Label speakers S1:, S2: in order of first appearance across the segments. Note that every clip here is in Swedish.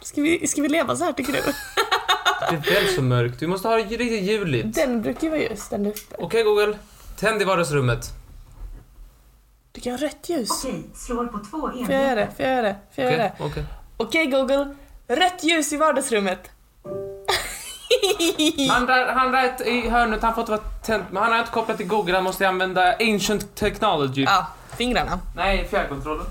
S1: Ska vi, ska vi leva så här tycker du?
S2: Det är väl så mörkt. Vi måste ha det riktigt ljuvligt.
S1: Den brukar ju vara ljus, den uppe.
S2: Okej Google, tänd i vardagsrummet.
S1: Tycker jag har rött ljus?
S3: Okej, slår på två
S1: Får jag göra det?
S3: enheter.
S1: Får jag göra det? Får jag göra
S2: Okej,
S1: det?
S2: okej.
S1: Okej Google, rött ljus i vardagsrummet.
S2: Han där, han där i hörnet, han får inte vara tänd. Men han har inte kopplat till Google, han måste använda ancient technology.
S1: Ja, fingrarna.
S2: Nej, fjärrkontrollen.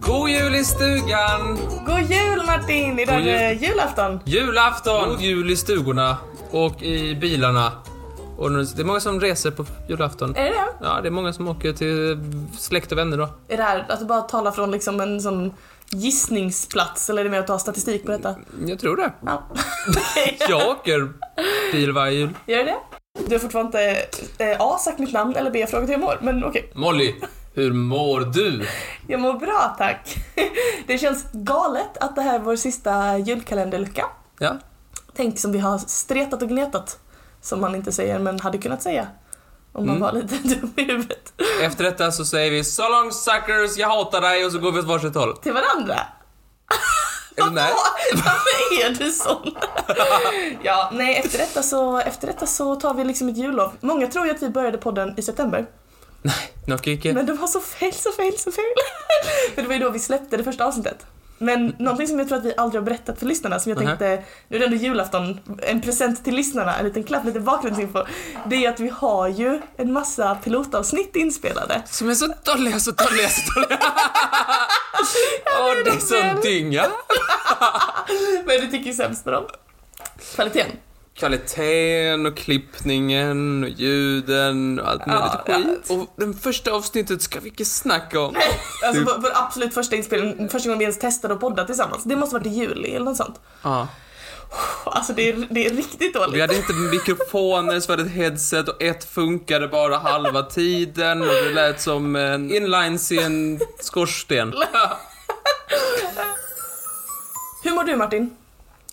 S2: God jul i stugan!
S1: God jul Martin! Idag är
S2: God jul.
S1: det julafton.
S2: Julafton! Jul i stugorna och i bilarna. Och nu- det är många som reser på julafton.
S1: Är det det?
S2: Ja, det är många som åker till släkt och vänner då.
S1: Är det här att du bara talar från liksom en sån gissningsplats eller är det mer att ta statistik på detta?
S2: Jag tror det.
S1: Ja.
S2: Jag åker bil varje jul.
S1: Gör det? Du har fortfarande inte eh, A sagt mitt namn eller B frågat hur jag mår, men okej.
S2: Molly, hur mår du?
S1: Jag mår bra tack. Det känns galet att det här är vår sista julkalenderlucka.
S2: Ja,
S1: Tänk som vi har stretat och gnetat. Som man inte säger men hade kunnat säga. Om man
S2: Mm.
S1: var lite dum i huvudet.
S2: efter detta så säger vi So long suckers, jag hatar dig och så går vi åt varsitt håll.
S1: Till varandra.
S2: Eller Eh, nej?
S1: Varför är du sån? ja, nej efter detta, så, efter detta så tar vi liksom ett jullov. Många tror ju att vi började podden i september.
S2: Nocke icke.
S1: Men det var så fel, så fel, så fel. För det var ju då vi släppte det första avsnittet. Men någonting som jag tror att vi aldrig har berättat för lyssnarna som jag
S2: Mhm.
S1: tänkte, nu är det ändå julafton, en present till lyssnarna, en liten klapp, lite bakgrundsinfo. Det är ju att vi har ju en massa pilotavsnitt inspelade.
S2: Som är så dåliga, så dåliga, så dåliga. Åh, det är sån dynga.
S1: Men du tycker ju sämst om dem. Kvaliteten.
S2: Kvaliteten och klippningen och ljuden och allt möjligt
S1: ja.
S2: skit. Och den första avsnittet ska vi inte snacka om.
S1: Alltså
S2: Du-
S1: vår, vår absolut första inspelning, första gången vi ens testade att podda tillsammans. Det måste varit i juli eller något sånt.
S2: Ja.
S1: Alltså det är, det är riktigt
S2: Vi
S1: dåligt.
S2: hade inte mikrofoner, så var det ett headset och ett funkade bara halva tiden och det lät som en inlines i en skorsten.
S1: Hur mår du Martin?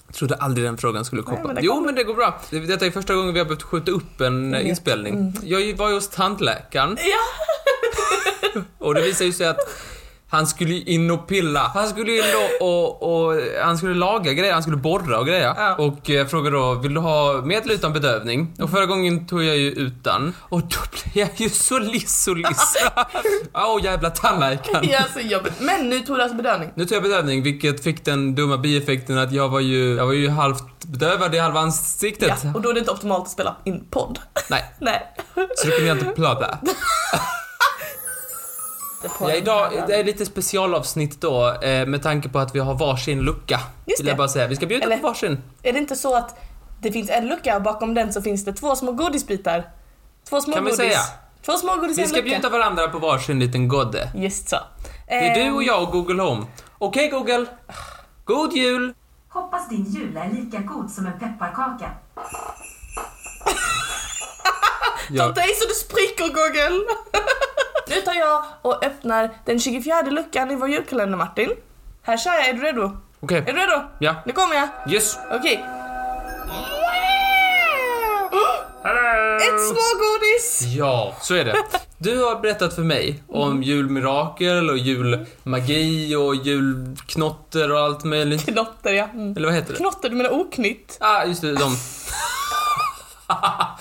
S2: Jag trodde aldrig den frågan skulle komma.
S1: Nej, men det
S2: jo,
S1: kommer.
S2: men det går bra. Det- Detta är första gången vi har behövt skjuta upp en eh, inspelning.
S1: Mm.
S2: Jag var ju hos tandläkaren
S1: Ja,
S2: och det visade ju sig att han skulle ju in och pilla. Han skulle ju in då och, och han skulle laga grejer, han skulle borra och grejer.
S1: Ja. Mm.
S2: Och jag frågade då, vill du ha med eller utan bedövning? Och förra gången tog jag ju utan. Och då blev jag ju så liss och liss. Åh jävla tandläkaren.
S1: ja så jobbigt. Men nu tog du alltså bedövning.
S2: Nu tar jag bedövning, vilket fick den dumma bieffekten att jag var ju, jag var ju halvt bedövad i halva
S1: Ja,
S2: ansiktet.
S1: och då är det inte optimalt att spela in podd.
S2: Nej,
S1: Nej.
S2: så då kunde jag inte prata. Ja, idag, det är lite specialavsnitt då eh, med tanke på att vi har varsin lucka.
S1: Just
S2: Vill jag
S1: det.
S2: bara säga. Vi ska bjuda
S1: Eller-
S2: på varsin.
S1: Är det inte så att det finns en lucka och bakom den så finns det två små godisbitar? Två små
S2: Kan vi
S1: godis.
S2: säga?
S1: Två små godis i
S2: Vi
S1: en
S2: ska
S1: lucka.
S2: bjuda varandra på varsin liten godde.
S1: Just så.
S2: Det är du och jag och Google Home. Okej Google, god jul!
S3: Hoppas din jul är lika god som en pepparkaka.
S1: Ta Ehm, dig så du spricker Google! nu tar jag och öppnar den 24 luckan i vår julkalender Martin. Här kör jag, är du redo?
S2: Okej,
S1: Är du redo?
S2: ja.
S1: Nu kommer jag.
S2: Yes.
S1: Okej. Ett smågodis!
S2: Ja, så är det. Du har berättat för mig om julmirakel och julmagi och julknotter och allt möjligt.
S1: Knotter ja. Mm.
S2: Eller vad heter det?
S1: Knotter, du menar oknytt?
S2: Ah, just det, de. och
S1: Varför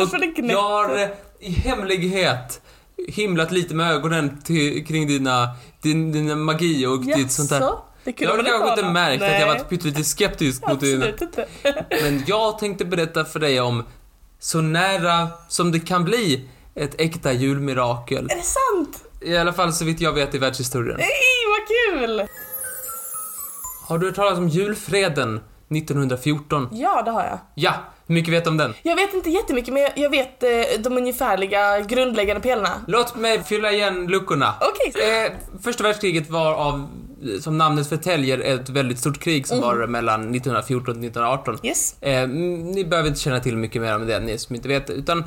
S1: Alltså, det knäpper?
S2: jag har eh, i hemlighet himlat lite med ögonen till, kring dina, din, dina magi och ditt sånt där.
S1: Jaså? Det
S2: Jag
S1: kunde
S2: har
S1: man
S2: kanske
S1: inte
S2: inte
S1: ana.
S2: märkt att
S1: Nej,
S2: jag varit pyttelite skeptisk mot dina
S1: Absolut inte.
S2: Men jag tänkte berätta för dig om så nära som det kan bli ett äkta julmirakel.
S1: Är det sant?
S2: I alla fall så vitt jag vet i världshistorien.
S1: Nej, vad kul!
S2: Har du hört talas om julfreden 1914?
S1: Ja, det har jag.
S2: Ja, hur mycket vet du om den?
S1: Jag vet inte jättemycket, men jag- jag vet eh, de ungefärliga grundläggande pelarna.
S2: Låt mig fylla igen luckorna.
S1: Okej.
S2: Eh, första världskriget var av, eh, som namnet förtäljer, ett väldigt stort krig som var mellan 1914 och 1918.
S1: Yes.
S2: Eh, mm, ni behöver inte känna till mycket mer om det, ni som inte vet. Utan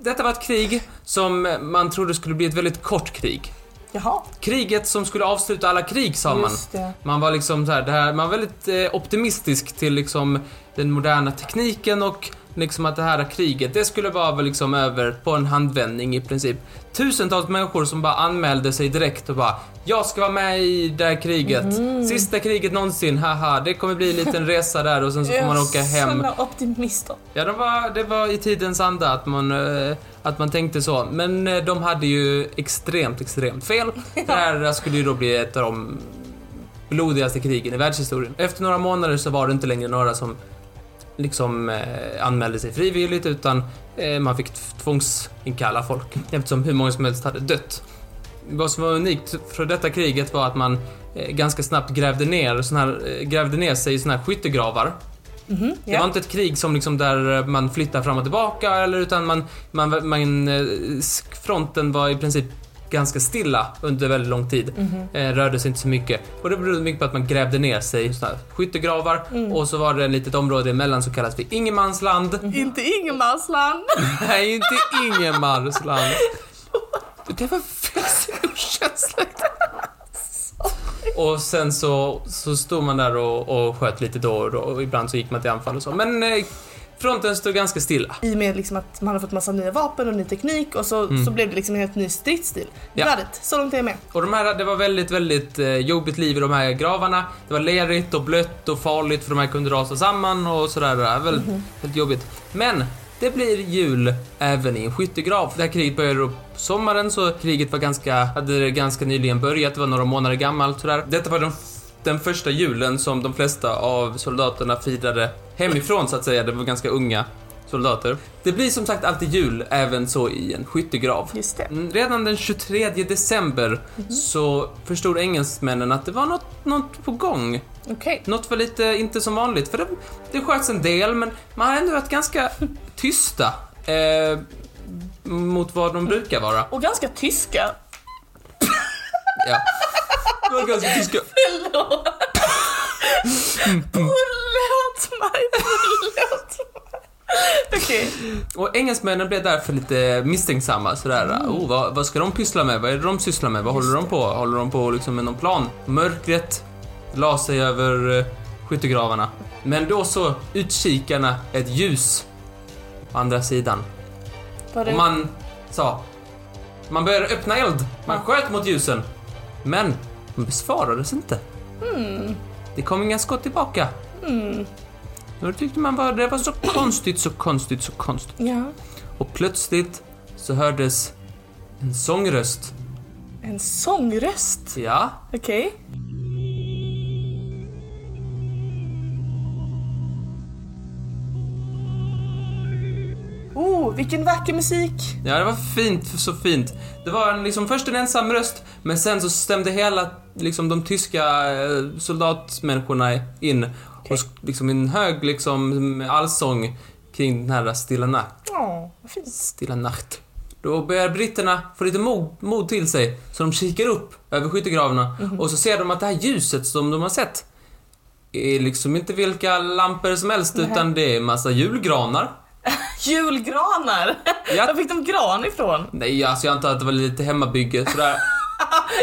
S2: detta var ett krig som man trodde skulle bli ett väldigt kort krig.
S1: Jaha.
S2: Kriget som skulle avsluta alla krig sa man.
S1: Just det.
S2: Man var liksom så här, det här, man var väldigt eh, optimistisk till liksom den moderna tekniken och liksom att det här kriget, det skulle vara väl liksom över på en handvändning i princip. Tusentals människor som bara anmälde sig direkt och bara jag ska vara med i det här kriget. Sista kriget någonsin, haha. Det kommer bli en liten resa där och sen så får man åka hem.
S1: Sådana optimister.
S2: Ja, de var, det var i tidens anda att man, eh, att man tänkte så. Men eh, de hade ju extremt, extremt fel. Det här skulle ju då bli ett av de blodigaste krigen i världshistorien. Efter några månader så var det inte längre några som liksom eh, anmälde sig frivilligt utan eh, man fick tvångsinkalla folk eftersom hur många som helst hade dött. Vad som var unikt från detta kriget var att man eh, ganska snabbt grävde ner, sån här, eh, grävde ner sig i såna här skyttegravar.
S1: Mhm,
S2: Det var
S1: ja.
S2: inte ett krig som liksom där man flyttar fram och tillbaka eller utan man, man, man, eh, sk- fronten var i princip ganska stilla under väldigt lång tid. Eh, rörde sig inte så mycket. Och det berodde mycket på att man grävde ner sig i såna här skyttegravar och så var det ett litet område emellan som kallas för ingenmansland.
S1: Inte Ingemarsland.
S2: Nej, inte ingenmansland. Det var väldigt okänsligt. Och sen så, så stod man där och, och sköt lite då och då och ibland så gick man till anfall och så. Men eh, fronten stod ganska stilla.
S1: I och med liksom att man har fått massa nya vapen och ny teknik och så, så blev det liksom en helt ny stridsstil.
S2: Mm. Ja.
S1: Värdigt, så långt är jag med.
S2: Och de här, det var väldigt, väldigt eh, jobbigt liv i de här gravarna. Det var lerigt och blött och farligt för de här kunde rasa samman och sådär. Det var väldigt,
S1: Mhm.
S2: väldigt jobbigt. Men det blir jul även i en skyttegrav. Det här kriget började på sommaren så kriget var ganska, hade ganska nyligen börjat. Det var några månader gammalt sådär. Detta var den, f- den första julen som de flesta av soldaterna firade hemifrån så att säga. Det var ganska unga soldater. Det blir som sagt alltid jul även så i en skyttegrav.
S1: Just det.
S2: Mm, Redan den 23 december så förstod engelsmännen att det var något, något på gång.
S1: Okej.
S2: Något var lite inte som vanligt, för det, det sköts en del, men man har ändå varit ganska tysta eh, mot vad de brukar vara.
S1: Och ganska tyska.
S2: Ja. De var ganska tyska.
S1: Förlåt. Förlåt mig, förlåt mig. Okej.
S2: Och engelsmännen blev därför lite misstänksamma sådär. Oh, vad, vad ska de pyssla med? Vad är det de sysslar med? Vad håller de på? Håller de på liksom med någon plan? Mörkret la sig över eh, skyttegravarna. Men då så utkikarna ett ljus på andra sidan.
S1: Var det...
S2: Och man sa... Man började öppna eld. Man sköt mot ljusen. Men de besvarades inte. Det kom inga skott tillbaka. Då tyckte man bara det var så konstigt, så konstigt, så konstigt.
S1: Ja.
S2: Och plötsligt så hördes en sångröst.
S1: En sångröst.
S2: Ja,
S1: Okej. Oh, vilken vacker musik!
S2: ja det var fint, så fint. Det var en, liksom först en ensam röst, men sen så stämde hela liksom de tyska eh, soldatmänniskorna in. Och s- liksom en hög liksom allsång kring den här stilla natt.
S1: Åh, vad fint.
S2: Stilla natt. Då börjar britterna få lite mod, mod till sig, så de kikar upp över skyttegravarna och så ser de att det här ljuset som de har sett är liksom inte vilka lampor som helst utan det är massa julgranar.
S1: Julgranar!
S2: Ja.
S1: Var fick de gran ifrån?
S2: Nej, alltså jag antar att det var lite hemmabygge sådär.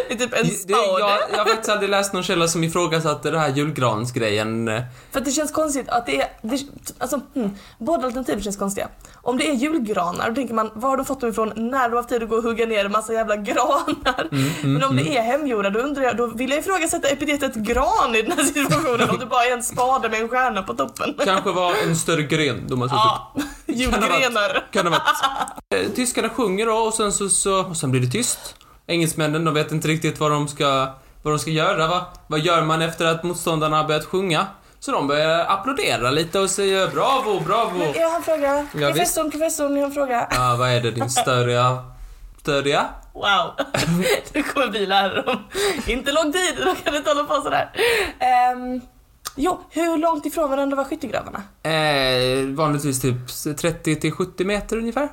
S1: Det är typ en
S2: Det, jag,
S1: spade.
S2: jag har faktiskt aldrig läst någon källa som ifrågasatte det här julgransgrejen.
S1: För att det känns konstigt att det är... Det, alltså, hmm, båda alternativen känns konstiga. Om det är julgranar, då tänker man var har de fått dem ifrån? När de har haft tid att gå och hugga ner en massa jävla granar?
S2: Mm,
S1: Men om det är hemgjorda, då undrar jag, då vill jag ifrågasätta epitetet gran i den här situationen om det bara är en spade med en stjärna på toppen.
S2: Kanske var en större gren de har suttit
S1: Ja, julgrenar.
S2: Kan det ha varit. Eh, Tyskarna sjunger då och sen så, så och sen blir det tyst. Engelsmännen de vet inte riktigt vad de ska, vad de ska göra va? Vad gör man efter att motståndarna har börjat sjunga? Så de börjar applådera lite och säger bravo, bravo.
S1: Men jag har en fråga.
S2: Ja, visst.
S1: professorn, professorn, jag har en fråga.
S2: Ja, vad är det din störiga... Störiga?
S1: Wow. Du kommer bli lärare om inte lång tid, då kan du inte hålla på sådär. Um, jo, hur långt ifrån varandra var skyttegravarna?
S2: Eh, vanligtvis typ 30 till 70 meter ungefär.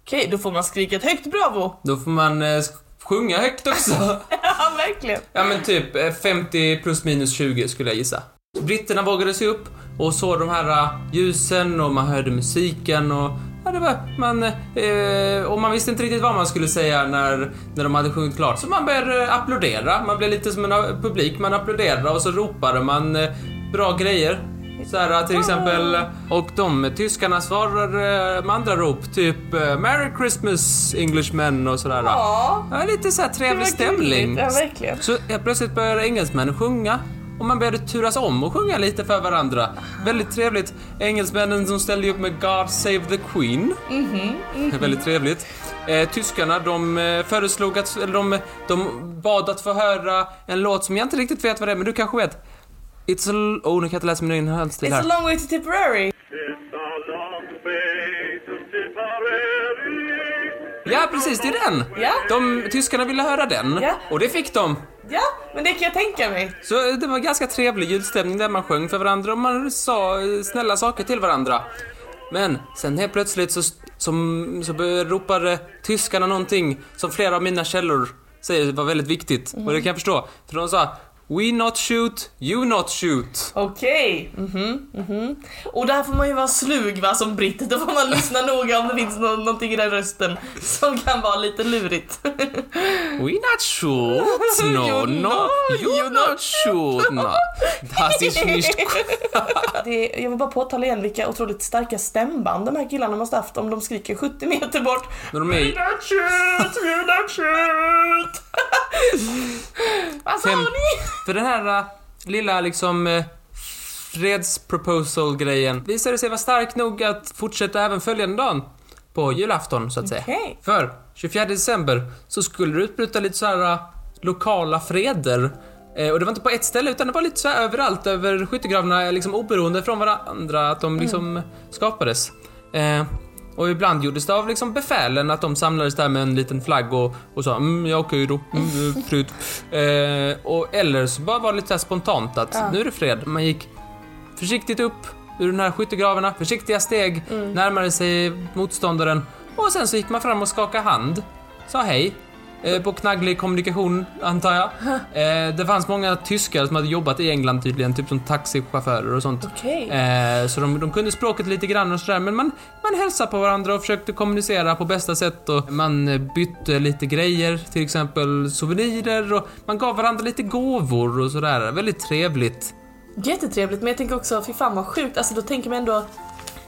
S1: Okej, då får man skrika ett högt bravo.
S2: Då får man eh, sjunga högt också.
S1: Ja, verkligen.
S2: Ja men typ eh, 50 plus minus 20 skulle jag gissa. Britterna vågade sig upp och såg de här eh, ljusen och man hörde musiken och ja, det var, man, eh, och man visste inte riktigt vad man skulle säga när, när de hade sjungit klart. Så man började eh, applådera. Man blev lite som en eh, publik. Man applåderade och så ropade man eh, bra grejer. Så här, eh, till exempel. Och de tyskarna svarade eh, med andra rop. Typ eh, “Merry Christmas Englishmen” och sådär.
S1: Ja.
S2: Ja, lite så här
S1: Det var
S2: trevlig
S1: gulligt.
S2: stämning.
S1: Ja, verkligen.
S2: Så helt plötsligt började engelsmännen sjunga och man började turas om och sjunga lite för varandra. Väldigt trevligt. Engelsmännen som ställde upp med God Save the Queen.
S1: Mm-hmm.
S2: Väldigt trevligt. Eh, tyskarna, de eh, föreslog att, eller de, de bad att få höra en låt som jag inte riktigt vet vad det är, men du kanske vet? It's a... l- Oh, nu kan jag inte läsa min egen handstil
S1: It's a
S2: här.
S1: long way to Tipperary.
S4: It's a long way to Tipperary.
S2: Ja, precis, det är den!
S1: Ja.
S2: De, tyskarna ville höra den.
S1: Ja.
S2: Och det fick de.
S1: Ja, men det kan jag tänka mig.
S2: Så eh, det var ganska trevlig julstämning där man sjöng för varandra och man sa eh, snälla saker till varandra. Men sen helt plötsligt så, som, så be- ropade tyskarna någonting som flera av mina källor säger var väldigt viktigt. Och det kan jag förstå. För de sa We not shoot, you not shoot.
S1: Okej. Mhm, mhm. Och där får man ju vara slug va, som britt. Då får man lyssna noga om det finns nå- någonting i den rösten som kan vara lite lurigt.
S2: We not shoot, no,
S1: You
S2: no,
S1: not-
S2: you not shoot, no. Das ist nicht...
S1: Det, jag vill bara påtala igen vilka otroligt starka stämband de här killarna måste haft om de skriker 70 meter bort.
S2: Men de är,
S1: Not shoot, you not shoot! Vad sa
S2: Fem-
S1: ni?
S2: För den här äh, lilla liksom äh, fredsproposal-grejen visade sig vara stark nog att fortsätta även följande dagen. På julafton, så att säga.
S1: Okej.
S2: För 24 december så skulle det utbryta lite så här äh, lokala freder. Eh, Och det var inte på ett ställe utan det var lite så här överallt över skyttegravarna, liksom oberoende från varandra, att de liksom skapades. Eh, och ibland gjordes det av liksom befälen att de samlades där med en liten flagg och, och sa mm, ja okej då, mm, eh, fred. Eh, och eller så bara var det lite så här spontant att nu är det fred. Man gick försiktigt upp ur den här skyttegravarna, försiktiga steg, närmade sig motståndaren och sen så gick man fram och skakade hand, sa hej. Eh, på knagglig kommunikation, antar jag. Eh, det fanns många tyskar som hade jobbat i England tydligen, typ som taxichaufförer och sånt.
S1: Okej.
S2: Eh, så de, de kunde språket lite grann och sådär, men man, man hälsade på varandra och försökte kommunicera på bästa sätt och man eh, bytte lite grejer, till exempel souvenirer och man gav varandra lite gåvor och sådär. Väldigt trevligt.
S1: Jättetrevligt, men jag tänker också, fy fan vad sjukt. Alltså då tänker man ändå,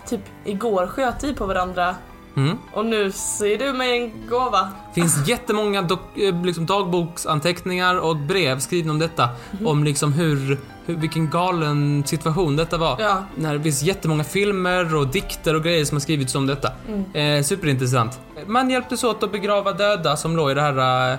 S1: typ igår sköt vi på varandra
S2: Mm.
S1: och nu ser du mig en gåva.
S2: finns jättemånga dok- eh, liksom dagboksanteckningar och brev skrivna om detta. Om liksom hur, hur, vilken galen situation detta var.
S1: Ja.
S2: När det finns jättemånga filmer och dikter och grejer som har skrivits om detta. Eh, superintressant. Man hjälptes åt att begrava döda som låg i det här eh,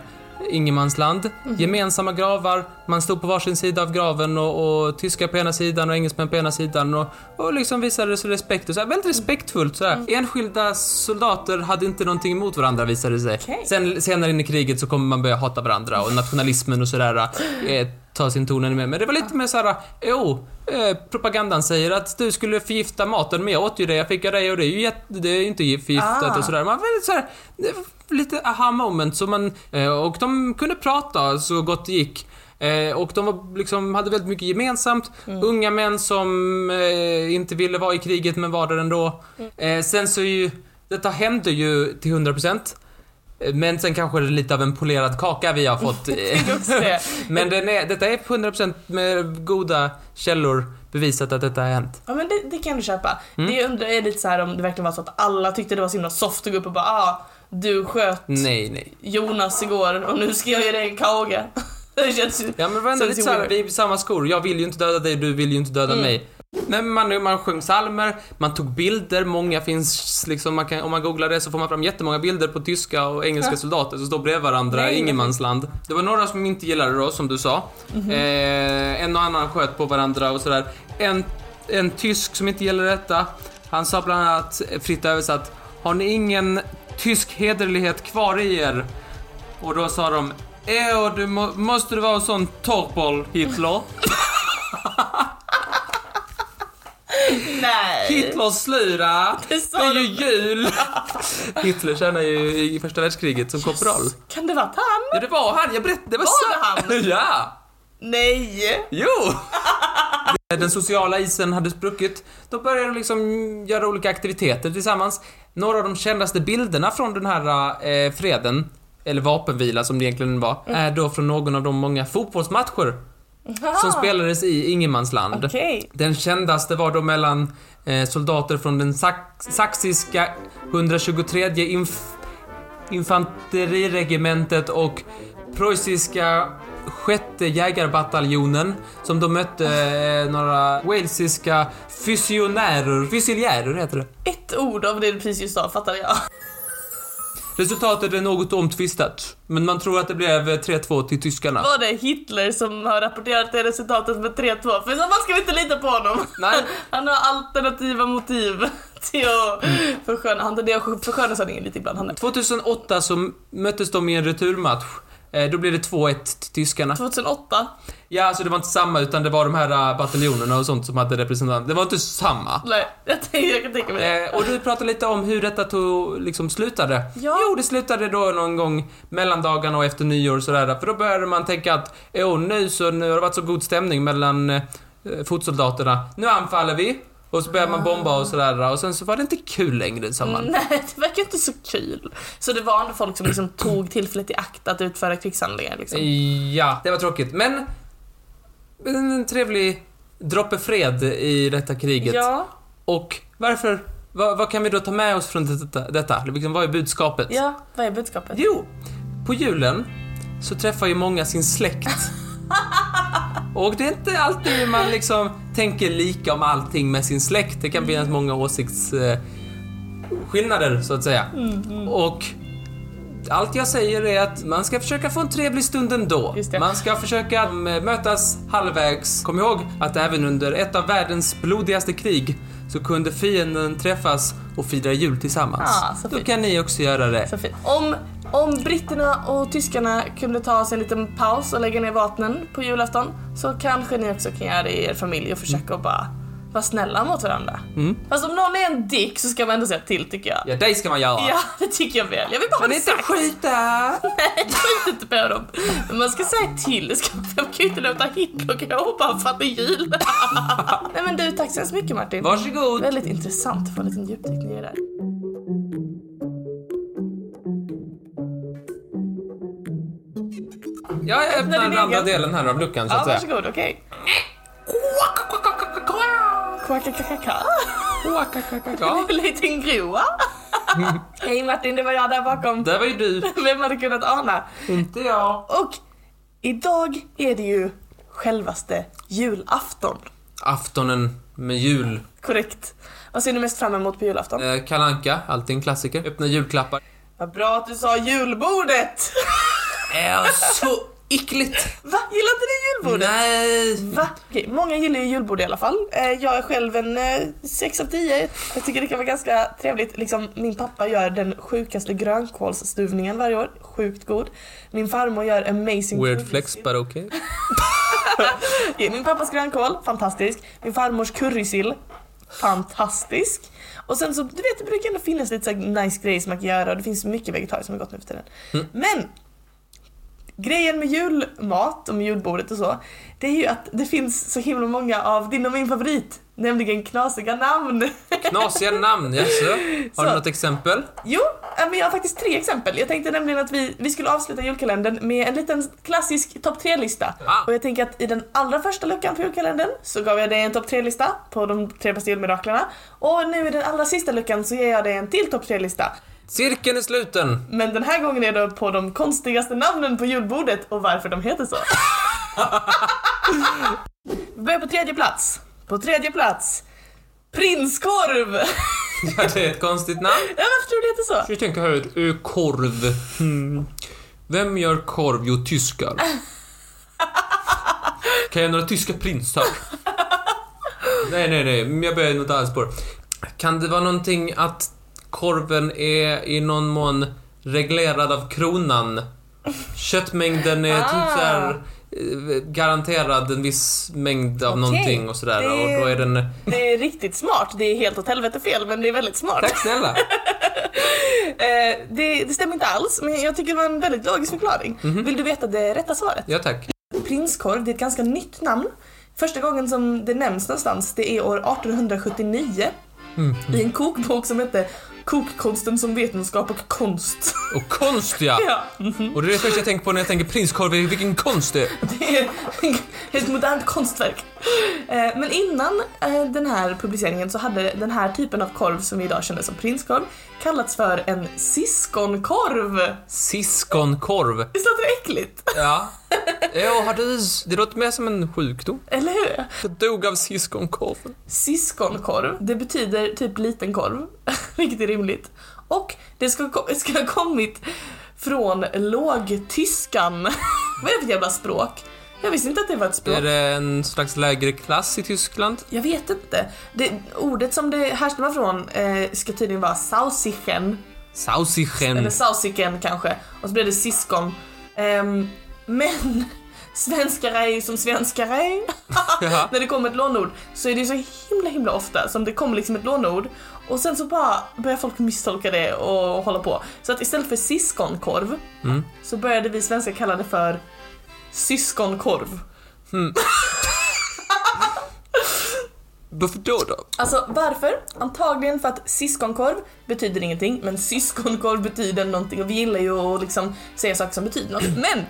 S2: ingenmansland. Gemensamma gravar, man stod på varsin sida av graven och, och tyskar på ena sidan och engelsmän på ena sidan och, och liksom visade sig respekt och så här, väldigt respektfullt så här. Enskilda soldater hade inte någonting emot varandra visade det sig.
S1: Okej.
S2: Sen, senare in i kriget så kommer man börja hata varandra och nationalismen och sådär eh, tar sin ton ännu mer. Men det var lite mer såhär, jo, eh, propagandan säger att du skulle förgifta maten men jag åt ju det, jag fick av dig och det är ju jätte, det är ju inte förgiftat
S1: Ah.
S2: och sådär. Man var väldigt såhär, eh, lite aha moment så man, eh, och de kunde prata så gott det gick. Eh, och de var, liksom, hade väldigt mycket gemensamt. Unga män som eh, inte ville vara i kriget men var där ändå. Eh, sen så är ju, detta hände ju till 100%. Eh, Men sen kanske det är lite av en polerad kaka vi har fått. eh,
S1: tänker också det.
S2: Men den är, detta är på 100% med goda källor bevisat att detta har hänt.
S1: Ja men det, det kan du köpa.
S2: Mm.
S1: Det jag undrar är lite så här om det verkligen var så att alla tyckte det var så himla soft att gå upp och bara ah, du sköt
S2: Nej, nej.
S1: Jonas igår och nu ska jag ge dig en kage. det känns ju...
S2: Ja men det var ändå
S1: Så
S2: lite
S1: det är
S2: såhär,
S1: weird.
S2: vi är i samma skor. Jag vill ju inte döda dig, du vill ju inte döda mig. Men man, man sjöng psalmer, man tog bilder, många finns liksom, man kan, om man googlar det så får man fram jättemånga bilder på tyska och engelska soldater som står bredvid varandra
S1: Nej,
S2: i ingenmansland. Det var några som inte gillade oss som du sa. Eh, en och annan sköt på varandra och sådär. En, en tysk som inte gillade detta, han sa bland annat, fritt översatt, har ni ingen tysk hederlighet kvar i er? Och då sa de Eo, du må, måste du vara en sån torrboll Hitler?
S1: Nej!
S2: Hitler slura!
S1: Det sa
S2: Det är ju
S1: de.
S2: jul! Hitler tjänade ju i första världskriget som korpral.
S1: Kan det vara han?
S2: Ja, det var han, jag berättade, det var,
S1: Var
S2: så- ja!
S1: Nej!
S2: Jo! Den sociala isen hade spruckit. Då började de liksom göra olika aktiviteter tillsammans. Några av de kändaste bilderna från den här eh, freden, eller vapenvila som det egentligen var, är då från någon av de många fotbollsmatcher som spelades i ingenmansland.
S1: Ah. Okej.
S2: Den kändaste var då mellan eh, soldater från den sax- saxiska 123 inf infanteriregementet och preussiska sjätte jägarbataljonen som då mötte eh, några walesiska fysionärer, fysiljärer heter det.
S1: Ett ord av det du precis sa fattade jag.
S2: Resultatet är något omtvistat, men man tror att det blev eh, 3-2 till tyskarna.
S1: Var det Hitler som har rapporterat det resultatet med 3-2? För i så fall ska vi inte lita på honom.
S2: Nej.
S1: Han har alternativa motiv till att försköna, han tenderar att försköna sanningen lite ibland. Han är.
S2: 2008 så möttes de i en returmatch. Eh, Då blev det 2-1 till tyskarna.
S1: 2008?
S2: Ja, alltså det var inte samma utan det var de här äh, bataljonerna och sånt som hade representanter. Det var inte samma.
S1: Nej, jag, tänker, jag kan tänka mig det.
S2: Eh, och du pratade lite om hur detta tog, liksom slutade.
S1: Ja.
S2: Jo, det slutade då någon gång mellan dagarna och efter nyår och sådär. För då började man tänka att, åh nu så nu har det varit så god stämning mellan eh, fotsoldaterna. Nu anfaller vi. Och så
S1: Ah.
S2: började man bomba och sådär. Och sen så var det inte kul längre, sa man.
S1: Mm, Nej, det verkar inte så kul. Så det var ändå folk som liksom tog tillfället i akt att utföra krigshandlingar liksom.
S2: Ja, det var tråkigt. Men, men en trevlig droppe fred i detta kriget.
S1: Ja,
S2: Och varför, vad, vad kan vi då ta med oss från detta? detta? Liksom, vad är budskapet?
S1: ja, vad är budskapet?
S2: Jo, på julen så träffar ju många sin släkt. Och det är inte alltid man liksom tänker lika om allting med sin släkt. Det
S1: Mm.
S2: kan finnas många åsiktsskillnader så att säga.
S1: Mm,
S2: Och allt jag säger är att man ska försöka få en trevlig stund ändå.
S1: Just det.
S2: Man ska försöka eh, mötas halvvägs. Kom ihåg att även under ett av världens blodigaste krig så kunde fienden träffas och fira jul tillsammans.
S1: Ah, så
S2: Då
S1: fint.
S2: kan ni också göra det.
S1: Så fint. Om, om britterna och tyskarna kunde ta sig en liten paus och lägga ner vapnen på julafton så kanske ni också kan göra det i er familj och försöka att bara vara snälla mot varandra. Fast om någon är en dick så ska man ändå säga till tycker jag.
S2: Ja, dig ska man göra.
S1: Ja, det tycker jag väl. Jag vill bara ha
S2: Men
S1: det
S2: inte
S1: sagt.
S2: skjuta!
S1: Nej, skjut inte på dem. Men man ska säga till. Det Ska, man kan ju inte låta Hitler gå bara för att det är jul. Nej men du, tack så hemskt mycket Martin.
S2: Varsågod!
S1: Väldigt intressant att få en liten djupdykning i det där.
S2: Ja, jag öppnar
S1: din
S2: den andra
S1: egen.
S2: delen här av luckan så
S1: Ja,
S2: att säga.
S1: varsågod, okej. Kvackakakaka.
S2: Ja,
S1: En liten groa. Hej Martin, det var jag där bakom.
S2: där var ju du.
S1: Vem hade kunnat ana?
S2: Inte jag.
S1: Och idag är det ju självaste julafton.
S2: Aftonen med jul.
S1: Korrekt. Vad ser du mest fram emot på julafton?
S2: Eh, Kalanka, alltid en klassiker. Öppna julklappar.
S1: Vad bra att du sa julbordet!
S2: Äh, så äckligt!
S1: Va? Gillar inte ni julbordet?
S2: Nej!
S1: Va? Okej, många gillar ju julbord i alla fall. Eh, Jag är själv en eh, 6 av 10. Jag tycker det kan vara ganska trevligt. Liksom, min pappa gör den sjukaste grönkålsstuvningen varje år. Sjukt god. Min farmor gör amazing
S2: Weird
S1: curry.
S2: flex, but okay.
S1: Okej, Min pappas grönkål, fantastisk. Min farmors currysill, fantastisk. Och sen så, du vet det brukar ändå finnas lite så här nice grejer som man kan göra och det finns mycket vegetariskt som är gott nu för tiden. Men! Grejen med julmat och med julbordet och så, det är ju att det finns så himla många av din och min favorit, nämligen knasiga namn.
S2: Knasiga namn, jaså? Har du
S1: Så.
S2: något exempel?
S1: Jo, äh, men jag har faktiskt tre exempel. Jag tänkte nämligen att vi, vi skulle avsluta julkalendern med en liten klassisk topp tre-lista.
S2: Ah.
S1: Och jag tänker att i den allra första luckan på julkalendern så gav jag dig en topp tre-lista på de tre bästa julmiraklerna. Och nu i den allra sista luckan så ger jag dig en till topp tre-lista.
S2: Cirkeln är sluten.
S1: Men den här gången är det på de konstigaste namnen på julbordet och varför de heter så. vi börjar på tredje plats. På tredje plats, prinskorv!
S2: Ja, det är ett konstigt namn.
S1: ja, varför tror du det heter så?
S2: Jag tänker här, eh, korv. Hmm. Vem gör korv? Jo, tyskar. Kan jag några tyska prinsar? Nej, nej, nej, men jag börjar i något annat spår. Kan det vara någonting att korven är i någon mån reglerad av kronan? Köttmängden är typ så här eh, garanterad en viss mängd av någonting och sådär
S1: det-
S2: och då är den...
S1: Det är riktigt smart. Det är helt åt helvete fel, men det är väldigt smart.
S2: Tack snälla!
S1: Eh, det, det stämmer inte alls, men jag tycker det var en väldigt logisk förklaring. Vill du veta det rätta svaret?
S2: Ja, tack.
S1: Prinskorv, det är ett ganska nytt namn. Första gången som det nämns någonstans, det är år 1879. I en kokbok som hette Kokkonsten som vetenskap och konst. Mm.
S2: Och konst ja!
S1: Ja,
S2: Och det är det första jag tänker på när jag tänker prinskorv, vilken konst det är.
S1: det är ett modernt konstverk. Eh, Men innan eh, den här publiceringen så hade den här typen av korv som vi idag känner som prinskorv kallats för en siskonkorv.
S2: Siskonkorv.
S1: Visst låter det äckligt?
S2: Ja. Ja, har du... Det låter mer som en sjukdom.
S1: Eller hur?
S2: Jag dog av siskonkorven.
S1: Siskonkorv, det betyder typ liten korv, vilket är rimligt. Och det ska, ko- ska ha kommit från lågtyskan. Vad är det för jävla språk? Jag visste inte att det var ett språk.
S2: Är det en slags lägre klass i Tyskland?
S1: Jag vet inte. Det, ordet som det härstammar från eh, ska tydligen vara sausichen,
S2: Sausichen.
S1: eller sausiken kanske, och så blev det siskon. Ehm, men svenskar är ju som svenskar är.
S2: Ja.
S1: När det kommer ett lånord så är det ju så himla himla ofta som det kommer liksom ett lånord och sen så bara börjar folk misstolka det och hålla på. Så att istället för siskonkorv
S2: Mm.
S1: så började vi svenskar kalla det för syskonkorv.
S2: Varför då då?
S1: Alltså varför? Antagligen för att siskonkorv betyder ingenting, men syskonkorv betyder någonting och vi gillar ju att liksom säga saker som betyder något. Men!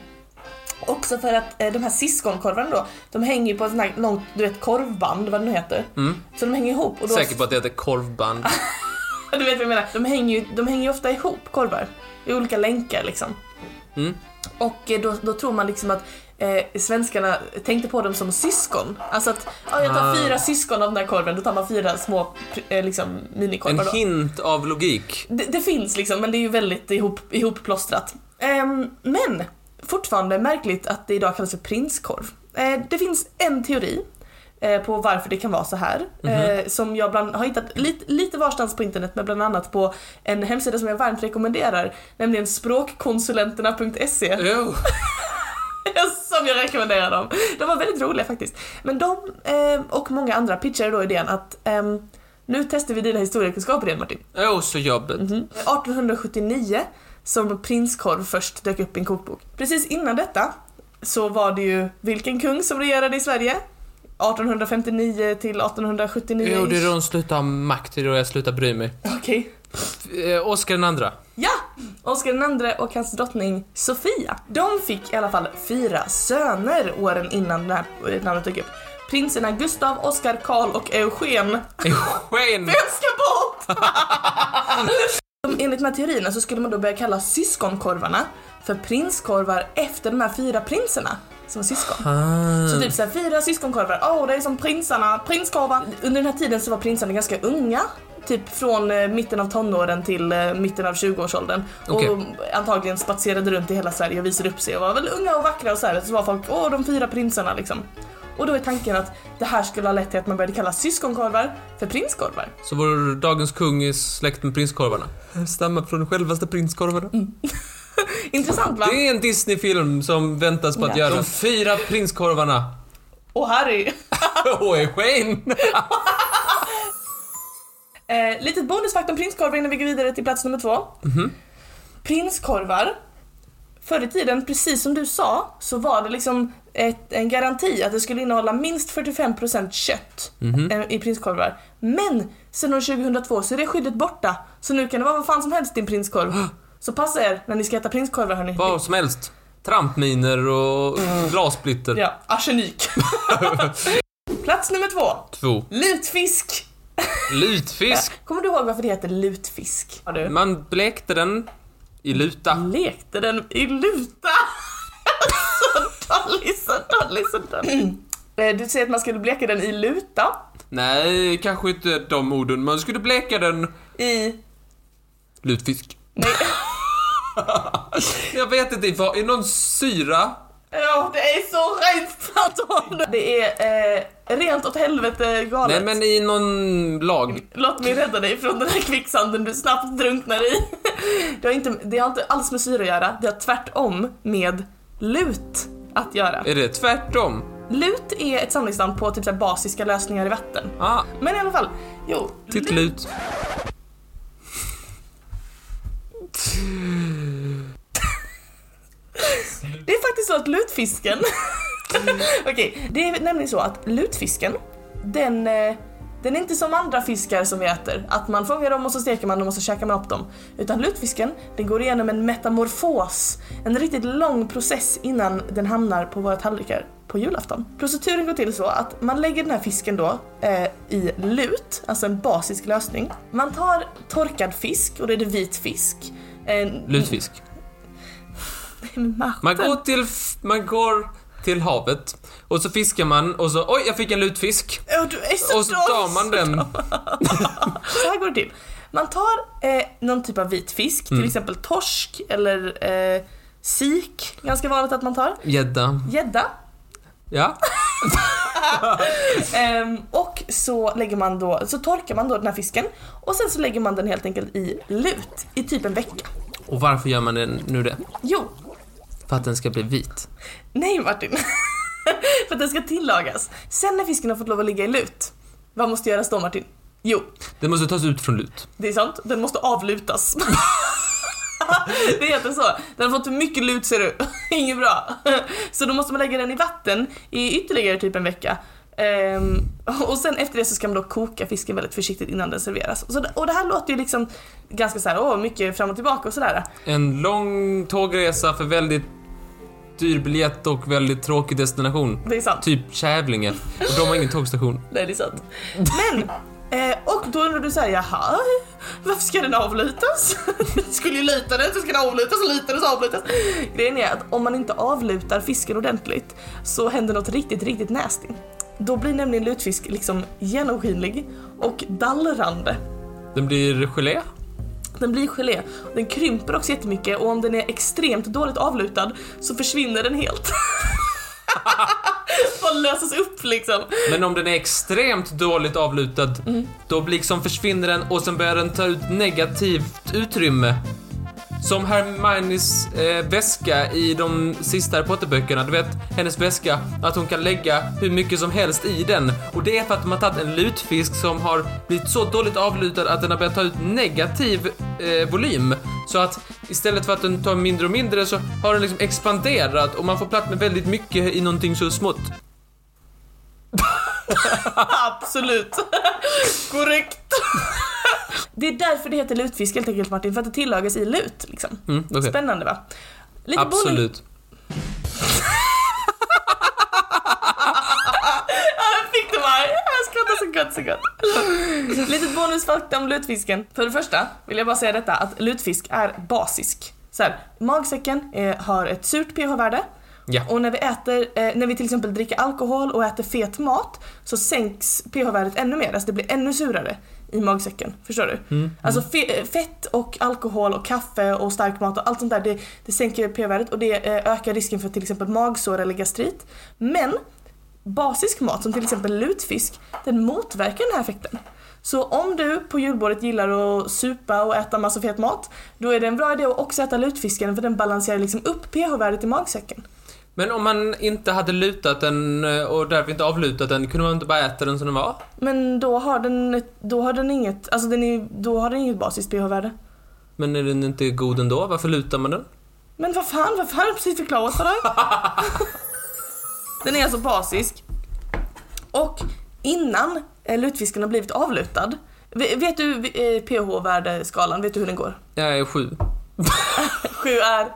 S1: Också för att eh, de här siskonkorvarna då, de hänger ju på ett sånt här långt, du vet korvband, vad det nu heter. Så de hänger ihop och då...
S2: Säker på att det heter korvband.
S1: Du vet vad jag menar. De hänger ju, de hänger ju ofta ihop, korvar. I olika länkar liksom.
S2: Mm.
S1: Och eh, då, då tror man liksom att eh, svenskarna tänkte på dem som syskon. Alltså att, ja jag tar
S2: Ah.
S1: fyra syskon av den här korven, då tar man fyra små pr- eh, liksom,
S2: En
S1: minikorvar då.
S2: hint av logik.
S1: Det, det finns liksom, men det är ju väldigt ihop, ihopplåstrat. Ehm, men fortfarande märkligt att det idag kallas för prinskorv. Eh, det finns en teori eh, på varför det kan vara så här. eh, som jag bland, har hittat lite, lite varstans på internet, men bland annat på en hemsida som jag varmt rekommenderar. Nämligen språkkonsulenterna.se.
S2: Oh.
S1: Som jag rekommenderar dem. De var väldigt roliga faktiskt. Men de eh, och många andra pitchade då idén att ehm, nu testar vi dina historiekunskaper igen Martin.
S2: oh, så jobbigt.
S1: Mhm. 1879 som prinskorv först dök upp i en kokbok. Precis innan detta så var det ju vilken kung som regerade i Sverige? 1859 till 1879.
S2: Jo, det är då de slutar ha makt, det är då jag slutar bry mig.
S1: Okej.
S2: Eh, Oscar den andra.
S1: Ja! Oscar den andre och hans drottning Sofia. De fick i alla fall fyra söner åren innan det här namnet dök upp. Prinserna Gustav, Oscar, Karl och Eugen.
S2: Eugen!
S1: Den ska bort! Enligt de här teorierna så skulle man då börja kalla syskonkorvarna för prinskorvar efter de här fyra prinserna som var syskon.
S2: Ah.
S1: Så typ såhär, fyra syskonkorvar, åh det är som prinsarna, prinskorvar. Under den här tiden så var prinsarna ganska unga. Typ från eh, mitten av tonåren till eh, mitten av 20-årsåldern. Och
S2: Okej.
S1: antagligen spatserade runt i hela Sverige och visade upp sig och var väl unga och vackra och så här. Så var folk, åh de fyra prinsarna liksom. Och då är tanken att det här skulle ha lett till att man började kalla syskonkorvar för prinskorvar.
S2: Så vår dagens kung är släkt med prinskorvarna. Stammar från självaste prinskorvarna.
S1: Intressant va?
S2: Det är en Disney-film som väntas på
S1: Ja.
S2: att göra. De fyra prinskorvarna.
S1: Och Harry.
S2: Och Eugen!
S1: Eh, litet bonusfakt om prinskorvar innan vi går vidare till plats nummer två.
S2: Mhm.
S1: Prinskorvar. Förr i tiden, precis som du sa, så var det liksom ett, en garanti att det skulle innehålla minst 45% kött
S2: Mhm.
S1: eh, i prinskorvar. Men sedan år 2002 så är det skyddet borta. Så nu kan det vara vad fan som helst i en prinskorv. Så passa er när ni ska äta prinskorvar hörni.
S2: Vad som helst. Trampminer och glassplitter.
S1: Ja, arsenik. plats nummer två.
S2: Två.
S1: Lutfisk.
S2: Lutfisk.
S1: Kommer du ihåg varför det heter lutfisk? Har du?
S2: Man blekte den i luta.
S1: lekte den i luta. så dålig, så dålig, så dålig. Eh, Du säger att man skulle bleka den i luta.
S2: Nej, kanske inte de orden. Man skulle bleka den
S1: I...
S2: lutfisk.
S1: Nej.
S2: Jag vet inte, var, är någon syra?
S1: Ja, det är så rent Anton! Det är eh, rent åt helvete galet.
S2: Nej, men i någon lag.
S1: Låt mig rädda dig från den här kvicksanden du snabbt drunknar i. Det har inte, det har inte alls med syre att göra, det har tvärtom med lut att göra.
S2: Är det tvärtom?
S1: Lut är ett samlingsnamn på typ så här basiska lösningar i vatten.
S2: Ah,
S1: Men i alla fall, jo.
S2: titt
S1: lut-
S2: lut.
S1: Det är faktiskt så att lutfisken... Okej, det är nämligen så att lutfisken, den eh, Den är inte som andra fiskar som vi äter, att man fångar dem och så steker man dem och så käkar man upp dem. Utan lutfisken, den går igenom en metamorfos, en riktigt lång process innan den hamnar på våra tallrikar på julafton. Proceduren går till så att man lägger den här fisken då eh, i lut, alltså en basisk lösning. Man tar torkad fisk, och då är det vit fisk. Eh,
S2: Lutfisk.
S1: Martin.
S2: Man går till, f- man går till havet och så fiskar man och så, oj, jag fick en lutfisk.
S1: Åh, du är så
S2: Och så
S1: dum.
S2: tar man den.
S1: Så här går det till. Man tar eh, någon typ av vit fisk,
S2: Mm.
S1: till exempel torsk eller eh, sik, ganska vanligt att man tar.
S2: Gädda.
S1: Gädda.
S2: Ja.
S1: Ehm, och så lägger man då, så torkar man då den här fisken och sen så lägger man den helt enkelt i lut i typ en vecka.
S2: Och varför gör man det nu det?
S1: Jo,
S2: För att den ska bli vit.
S1: nej Martin. För att den ska tillagas. Sen när fisken har fått lov att ligga i lut, vad måste göras då Martin? Jo,
S2: Den måste tas ut från lut.
S1: Det är sant, den måste avlutas. det heter så. Den har fått för mycket lut ser du. Inget bra. Så då måste man lägga den i vatten i ytterligare typ en vecka. Ehm, och sen efter det så ska man då koka fisken väldigt försiktigt innan den serveras. Så, och det här låter ju liksom ganska så här, åh, mycket fram och tillbaka och sådär.
S2: En lång tågresa för väldigt dyr biljett och väldigt tråkig destination.
S1: Det är sant.
S2: Typ Kävlinge. Och de har ingen tågstation.
S1: Nej, det är sant. Men, eh, och då undrar du såhär, jaha, varför ska den avlutas? Du skulle ju luta den, så ska den avlutas, lutas och avlutas. Grejen är att om man inte avlutar fisken ordentligt så händer något riktigt, riktigt nasty. Då blir nämligen lutfisk liksom genomskinlig och dallrande.
S2: Den blir gelé.
S1: Den blir gelé, den krymper också jättemycket och om den är extremt dåligt avlutad så försvinner den helt. Bara löses upp liksom.
S2: Men om den är extremt dåligt avlutad, då liksom försvinner den och sen börjar den ta ut negativt utrymme. Som Hermiones eh, väska i de sista Harry Potter-böckerna, du vet hennes väska, att hon kan lägga hur mycket som helst i den. Och det är för att de har tagit en lutfisk som har blivit så dåligt avlutad att den har börjat ta ut negativ eh, volym. Så att istället för att den tar mindre och mindre så har den liksom expanderat och man får plats med väldigt mycket i någonting så smått.
S1: Absolut. Korrekt. Det är därför det heter lutfisk helt enkelt Martin, för att det tillagas i lut liksom.
S2: Mm, okej.
S1: Spännande va? Lite bowling-
S2: Absolut.
S1: Ja, jag fick det bara. Jag skrattar så gott, så gott. Lite bonusfakta om lutfisken. För det första vill jag bara säga detta att lutfisk är basisk. Så här, magsäcken eh, har ett surt pH-värde.
S2: Ja.
S1: Och när vi äter, eh, när vi till exempel dricker alkohol och äter fet mat så sänks pH-värdet ännu mer, alltså det blir ännu surare i magsäcken. Förstår du? Alltså fe- eh, fett och alkohol och kaffe och stark mat och allt sånt där det, det sänker pH-värdet och det eh, ökar risken för till exempel magsår eller gastrit. Men basisk mat som till exempel lutfisk, den motverkar den här effekten. Så om du på julbordet gillar att supa och äta massa fet mat, då är det en bra idé att också äta lutfisken för den balanserar liksom upp pH-värdet i magsäcken.
S2: Men om man inte hade lutat den eh, och därför inte avlutat den, kunde man inte bara äta den som den var?
S1: Men då har den, ett- då har den inget, alltså den är, då har den inget basiskt pH-värde.
S2: Men är den inte god ändå? Varför lutar man den?
S1: Men vad fan, vad fan har jag precis förklarat för dig? den är alltså basisk. Och innan eh, lutfisken har blivit avlutad, ve- vet du eh, pH-värdeskalan, vet du hur den går?
S2: Jag är sju.
S1: Sju är...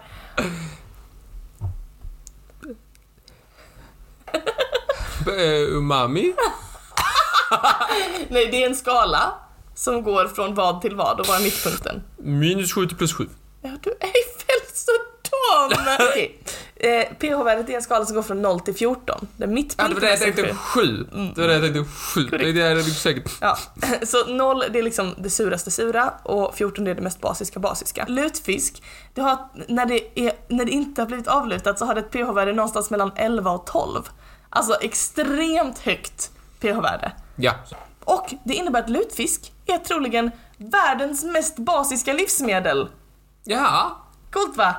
S2: B- eh, umami?
S1: Nej, det är en skala som går från vad till vad och var är mittpunkten.
S2: Minus sju till plus sju.
S1: Ja, du är väl så dum! Okej. eh, PH-värdet är en skala som går från 0 till 14. Det är
S2: Ja, det var
S1: mittpunkten
S2: det jag
S1: är
S2: tänkte.
S1: sju.
S2: Sju. Det var det jag tänkte. Sju. Det är det jag är säkert.
S1: Ja, så 0 det är liksom det suraste sura och 14 det är det mest basiska basiska. Lutfisk, det har, när, det är, när det inte har blivit avlutat så har det ett pH-värde någonstans mellan 11 och 12. Alltså extremt högt pH-värde.
S2: Ja.
S1: Och det innebär att lutfisk är troligen världens mest basiska livsmedel.
S2: Ja.
S1: Coolt va?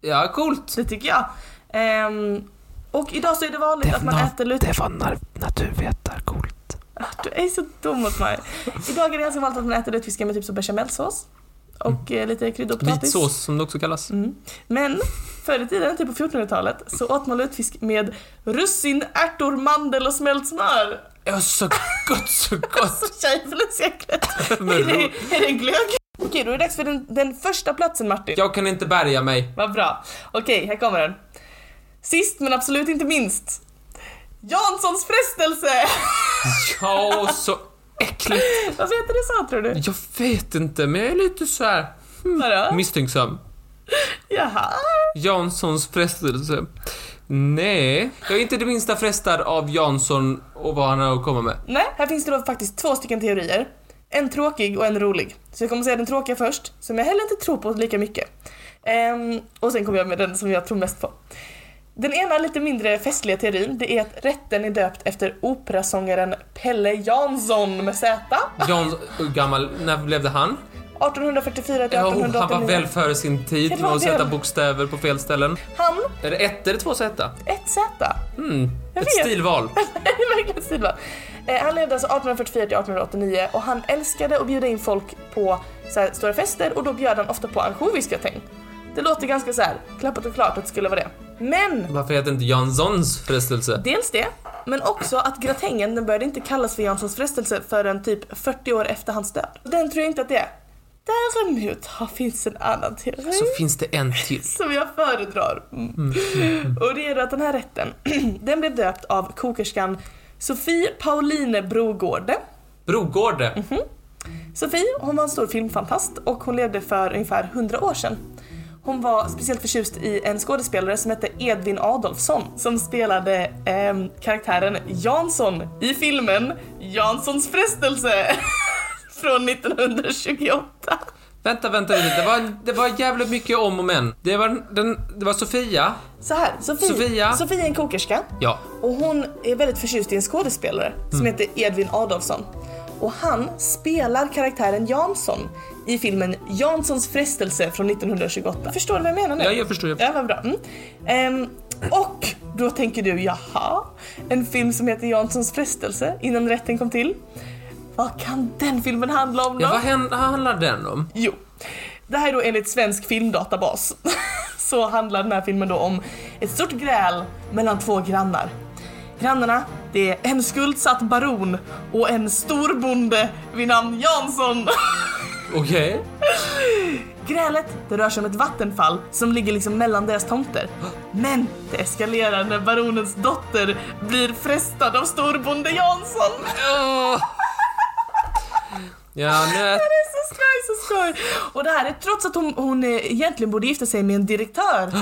S2: Ja, coolt.
S1: Det tycker jag. Ehm, och idag så är det vanligt att man äter lut...
S5: Det var na- naturvetarcoolt.
S1: Ah, Du är så dum mot mig. Idag är det ganska vanligt att man äter lutfiskar med typ så bechamelsås. och eh, lite kryddor
S2: Mm. Vit sås som det också kallas.
S1: Mm. Men förr i tiden, typ på 1400-talet, så åt man lutfisk med russin, ärtor, mandel och smält smör.
S2: Ja, så gott, så gott!
S1: Alltså tjejfällesseklet.
S2: Men
S1: är, det,
S2: ro-
S1: är det en glögg? Okej, då är det dags för den, den första platsen Martin.
S2: Jag kan inte bärga mig.
S1: Vad bra. Okej, här kommer den. Sist men absolut inte minst. Janssons frestelse!
S2: Ja, så äckligt.
S1: Varför heter det så tror du?
S2: Jag vet inte, men jag är lite så här
S1: Vadå?
S2: misstänksam.
S1: Jaha.
S2: Janssons frestelse. Nej, jag är inte det minsta frestad av Jansson och vad han har att komma med.
S1: Nej, här finns det då faktiskt två stycken teorier. En tråkig och en rolig. Så jag kommer säga den tråkiga först, som jag heller inte tror på lika mycket. Ehm, och sen kommer jag med den som jag tror mest på. Den ena lite mindre festliga teorin, det är att rätten är döpt efter operasångaren Pelle Jansson med Z.
S2: Jans, hur gammal, när levde han?
S1: 1844 till
S2: Ja, oh, han var
S1: 1889.
S2: väl före sin tid
S1: Det
S2: med
S1: var
S2: att sätta
S1: det.
S2: bokstäver på fel ställen.
S1: Han,
S2: Är det ett eller två Z?
S1: ett Z.
S2: Mm,
S1: Jag
S2: ett
S1: vet.
S2: stilval.
S1: Det är verkligen stilbra. Eh, han levde alltså 1844 till 1889 och han älskade att bjuda in folk på så här, stora fester och då bjöd han ofta på ansjovisgratäng. Det låter ganska så här klappat och klart att det skulle vara det. Men
S2: Varför heter det inte Janssons frestelse?
S1: dels det, men också att gratängen den började inte kallas för Janssons frestelse förrän typ 40 år efter hans död. Den tror jag inte att det är. Däremot har- finns en annan teori.
S2: Så finns det en till.
S1: Som jag föredrar. Mm. Och det är då att den här rätten, den blev döpt av kokerskan Sofie Pauline Brogårde.
S2: Brogårde.
S1: Sofie, hon var en stor filmfantast och hon levde för ungefär 100 år sedan. Hon var speciellt förtjust i en skådespelare som hette Edvin Adolfsson som spelade ehm, karaktären Jansson i filmen Janssons frestelse från 1928.
S2: Vänta, vänta lite. Det var, det var jävligt mycket om och men. Det var, den, det var Sofia.
S1: Så här, Sofie,
S2: Sofia.
S1: Sofie är en kokerska
S2: Ja.
S1: Och hon är väldigt förtjust i en skådespelare som
S2: Mm.
S1: heter Edvin Adolfsson. Och han spelar karaktären Jansson i filmen Janssons frestelse från 1928. Förstår du vad jag menar nu?
S2: Ja, jag förstår, jag
S1: Ja, vad bra. Mm. Ehm, och då tänker du, jaha, en film som heter Janssons frestelse innan rätten kom till. Vad kan den filmen handla om då?
S2: ja vad hän- handlar den om?
S1: Jo. Det här är då enligt svensk filmdatabas. så handlar den här filmen då om ett stort gräl mellan två grannar. Grannarna, det är en skuldsatt baron och en storbonde vid namn Jansson.
S2: Okej.
S1: Grälet, det rör sig om ett vattenfall som ligger liksom mellan deras tomter. Men det eskalerar när baronens dotter blir frestad av storbonde Jansson.
S2: Åh. Ja, nu...
S1: Det är så skoj, så skoj! Och det här är trots att hon, hon eh, egentligen borde gifta sig med en direktör.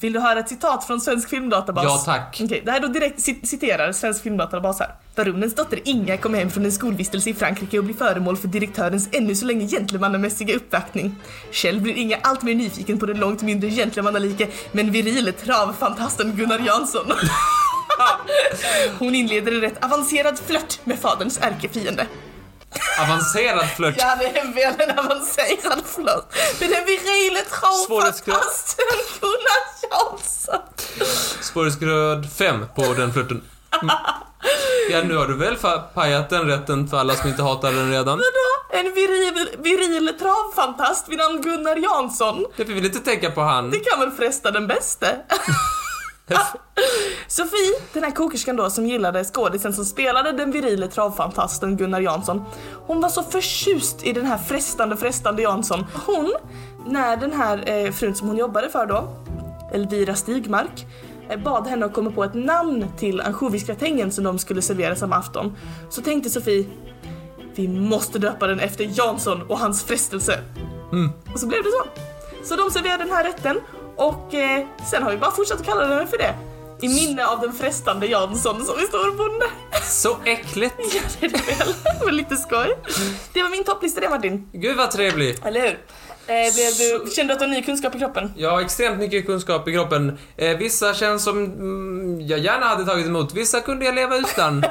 S1: Vill du höra ett citat från Svensk Filmdatabas?
S2: Ja, tack.
S1: Okej, det här är då direkt cit- citerar Svensk Filmdatabas här. Baronens dotter Inga kom hem från en skolvistelse i Frankrike och blir föremål för direktörens ännu så länge gentlemannamässiga uppvaktning. Själv blir Inga allt mer nyfiken på den långt mindre gentlemannalike men virile travfantasten Gunnar Jansson. Hon inleder en rätt avancerad flört med faderns ärkefiende.
S2: Avancerad flört.
S1: Ja, det är väl en avancerad flört. Men den virile travfantasten Gunnar Jansson.
S2: Svårighetsgrad 5 på den flörten. Mm. Ja, nu har du väl fa- pajat den rätten för alla som inte hatar den redan.
S1: Vadå? En viril, viril travfantast vid namn Gunnar Jansson.
S2: Det vill inte tänka på han.
S1: Det kan väl fresta den bäste? Sofie, den här kokerskan då som gillade skådisen som spelade den virile travfantasten Gunnar Jansson. Hon var så förtjust i den här frestande, frestande Jansson. Hon, när den här eh, frun som hon jobbade för då, Elvira Stigmark, eh, bad henne att komma på ett namn till ansjovisgratängen som de skulle servera samma afton. Så tänkte Sofie, vi måste döpa den efter Jansson och hans frestelse. Och så blev det så. Så de serverade den här rätten och eh, sen har vi bara fortsatt att kalla den för det. I minne av den frestande Jansson som är storbonde.
S2: Så äckligt.
S1: Ja, det är det väl. Det var lite skoj. Det var min topplista det Martin.
S2: Gud vad trevlig.
S1: Eller hur? Eh, blev du, kände du att du har ny kunskap i kroppen?
S2: Jag har extremt mycket kunskap i kroppen. Eh, vissa känns som mm, jag gärna hade tagit emot, vissa kunde jag leva utan.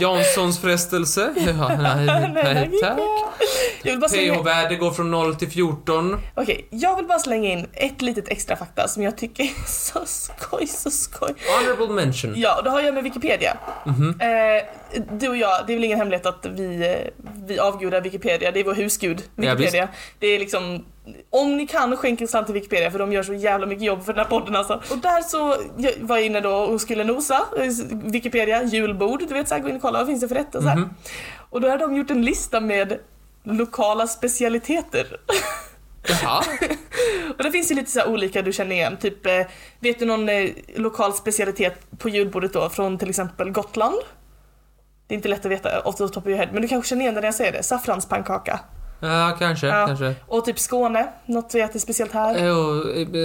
S2: Janssons frestelse. Ja, nej, nej, tack.
S1: Jag vill bara slänga...
S2: pH-värde går från 0 till 14.
S1: Okej, jag vill bara slänga in ett litet extra fakta som jag tycker är så skoj, så skoj.
S2: Honorable mention.
S1: Ja, och det har jag med Wikipedia. Eh, du och jag, det är väl ingen hemlighet att vi, eh, vi avgudar Wikipedia. Det är vår husgud,
S2: Ja,
S1: Wikipedia. det är liksom om ni kan skänk en slant till Wikipedia för de gör så jävla mycket jobb för den här podden alltså. Och där så jag var jag inne då och skulle nosa, eh, Wikipedia, julbord, du vet såhär gå in och kolla vad finns det för rätter så här. Och då hade de gjort en lista med lokala specialiteter.
S2: Jaha.
S1: Och det finns ju lite så här olika du känner igen, typ eh, vet du någon eh, lokal specialitet på julbordet då från till exempel Gotland? Det är inte lätt att veta off the top of your head men du kanske känner igen det när jag säger det, saffranspannkaka.
S2: Ja, kanske,
S1: Ja.
S2: kanske. Eh.
S1: Och typ Skåne, något vi äter speciellt här.
S2: Jo,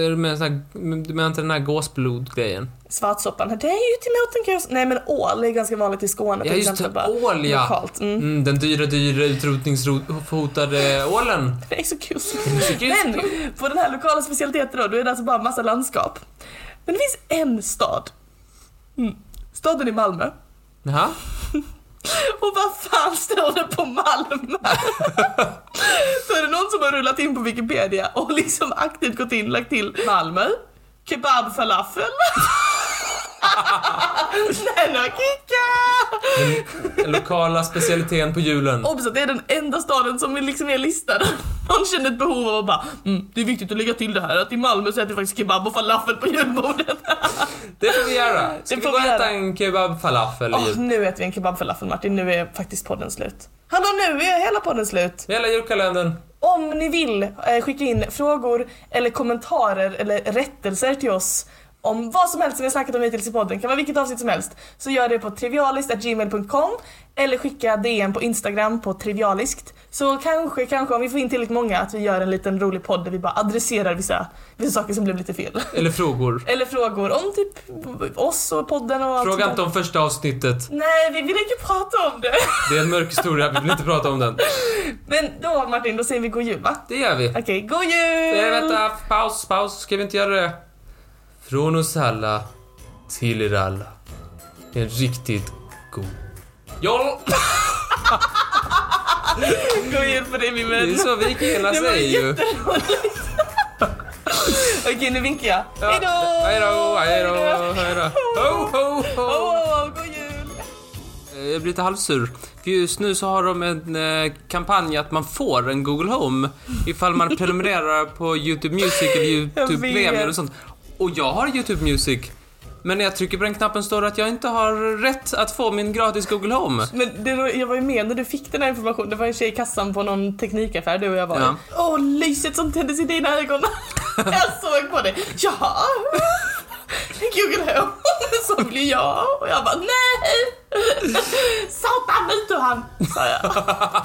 S2: är du med sån här, du menar inte den här gåsblodgrejen?
S1: Svartsoppan, det är ju till Mårtengås. Nej men ål är ganska vanligt i Skåne
S2: Ja,
S1: till
S2: just
S1: exempel.
S2: det.
S1: bara
S2: Ål, ja.
S1: Lokalt. Mm.
S2: Mm, den dyra, dyra utrotningshotade ålen.
S1: Det är så kusligt.
S2: så kusligt.
S1: Men på den här lokala specialiteten då, då är det alltså bara massa landskap. Men det finns en stad. Mm. Staden är Malmö.
S2: Jaha.
S1: Och vad fan står det på Malmö? Så är det någon som har rullat in på Wikipedia och liksom aktivt gått in lagt till Malmö, kebab falafel. Den har kickat!
S2: Den lokala specialiteten på julen.
S1: Obs att det är den enda staden som liksom är listad. Någon kände ett behov av att bara, mm, det är viktigt att lägga till det här att i Malmö så äter vi faktiskt kebab och falafel på julbordet.
S2: Det får vi göra. Ska
S1: Det
S2: vi
S1: får
S2: gå och
S1: vi
S2: äta
S1: göra.
S2: en kebab-falafel i
S1: Åh,
S2: jul?
S1: nu äter vi en kebab falafel Martin, nu är faktiskt podden slut. Hallå nu är hela podden slut.
S2: Hela julkalendern.
S1: Om ni vill eh, skicka in frågor eller kommentarer eller rättelser till oss om vad som helst som vi har snackat om hittills i podden, kan vara vilket avsnitt som helst, så gör det på trivialiskt.gmail.com eller skicka DM på Instagram på trivialiskt. Så kanske, kanske om vi får in tillräckligt många att vi gör en liten rolig podd där vi bara adresserar vissa, vissa saker som blev lite fel.
S2: Eller frågor.
S1: Eller frågor om typ oss och podden och allt
S2: Fråga
S1: sånt
S2: inte
S1: där.
S2: om första avsnittet.
S1: Nej, vi vill inte prata om det.
S2: Det är en mörk historia, vi vill inte prata om den.
S1: Men då Martin, då säger vi god jul va?
S2: Det gör vi.
S1: Okej, god jul!
S2: Nej, vänta, paus, paus. Ska vi inte göra det? Från oss alla till er alla. En riktigt god... Ja,
S1: God jul på dig min
S2: det
S1: vän!
S2: är så vikingarna
S1: Det var
S2: säger ju.
S1: jätteroligt. Okej, nu vinkar jag.
S2: Ja,
S1: Hejdå!
S2: Hejdå, hejdå,
S1: Hejdå!
S2: hejdå. Ho, ho,
S1: Åh,
S2: ho.
S1: åh, åh, god jul!
S2: Eh, Jag blir lite halvsur. För just nu så har de en eh, kampanj att man får en Google Home ifall man prenumererar på YouTube Music eller YouTube
S1: Jag vet.
S2: Premium och sånt. Och jag har YouTube Music. Men när jag trycker på den knappen står det att jag inte har rätt att få min gratis Google Home.
S1: Men det, var- jag var ju med när du fick den här informationen. Det var en tjej i kassan på någon teknikaffär du och jag var i.
S2: Ja.
S1: Åh, lyset som tändes i dina ögon. jag såg på dig. Ja! Google Home. Så blir jag. Och jag bara nej! Satan, ut ur han! Sa jag.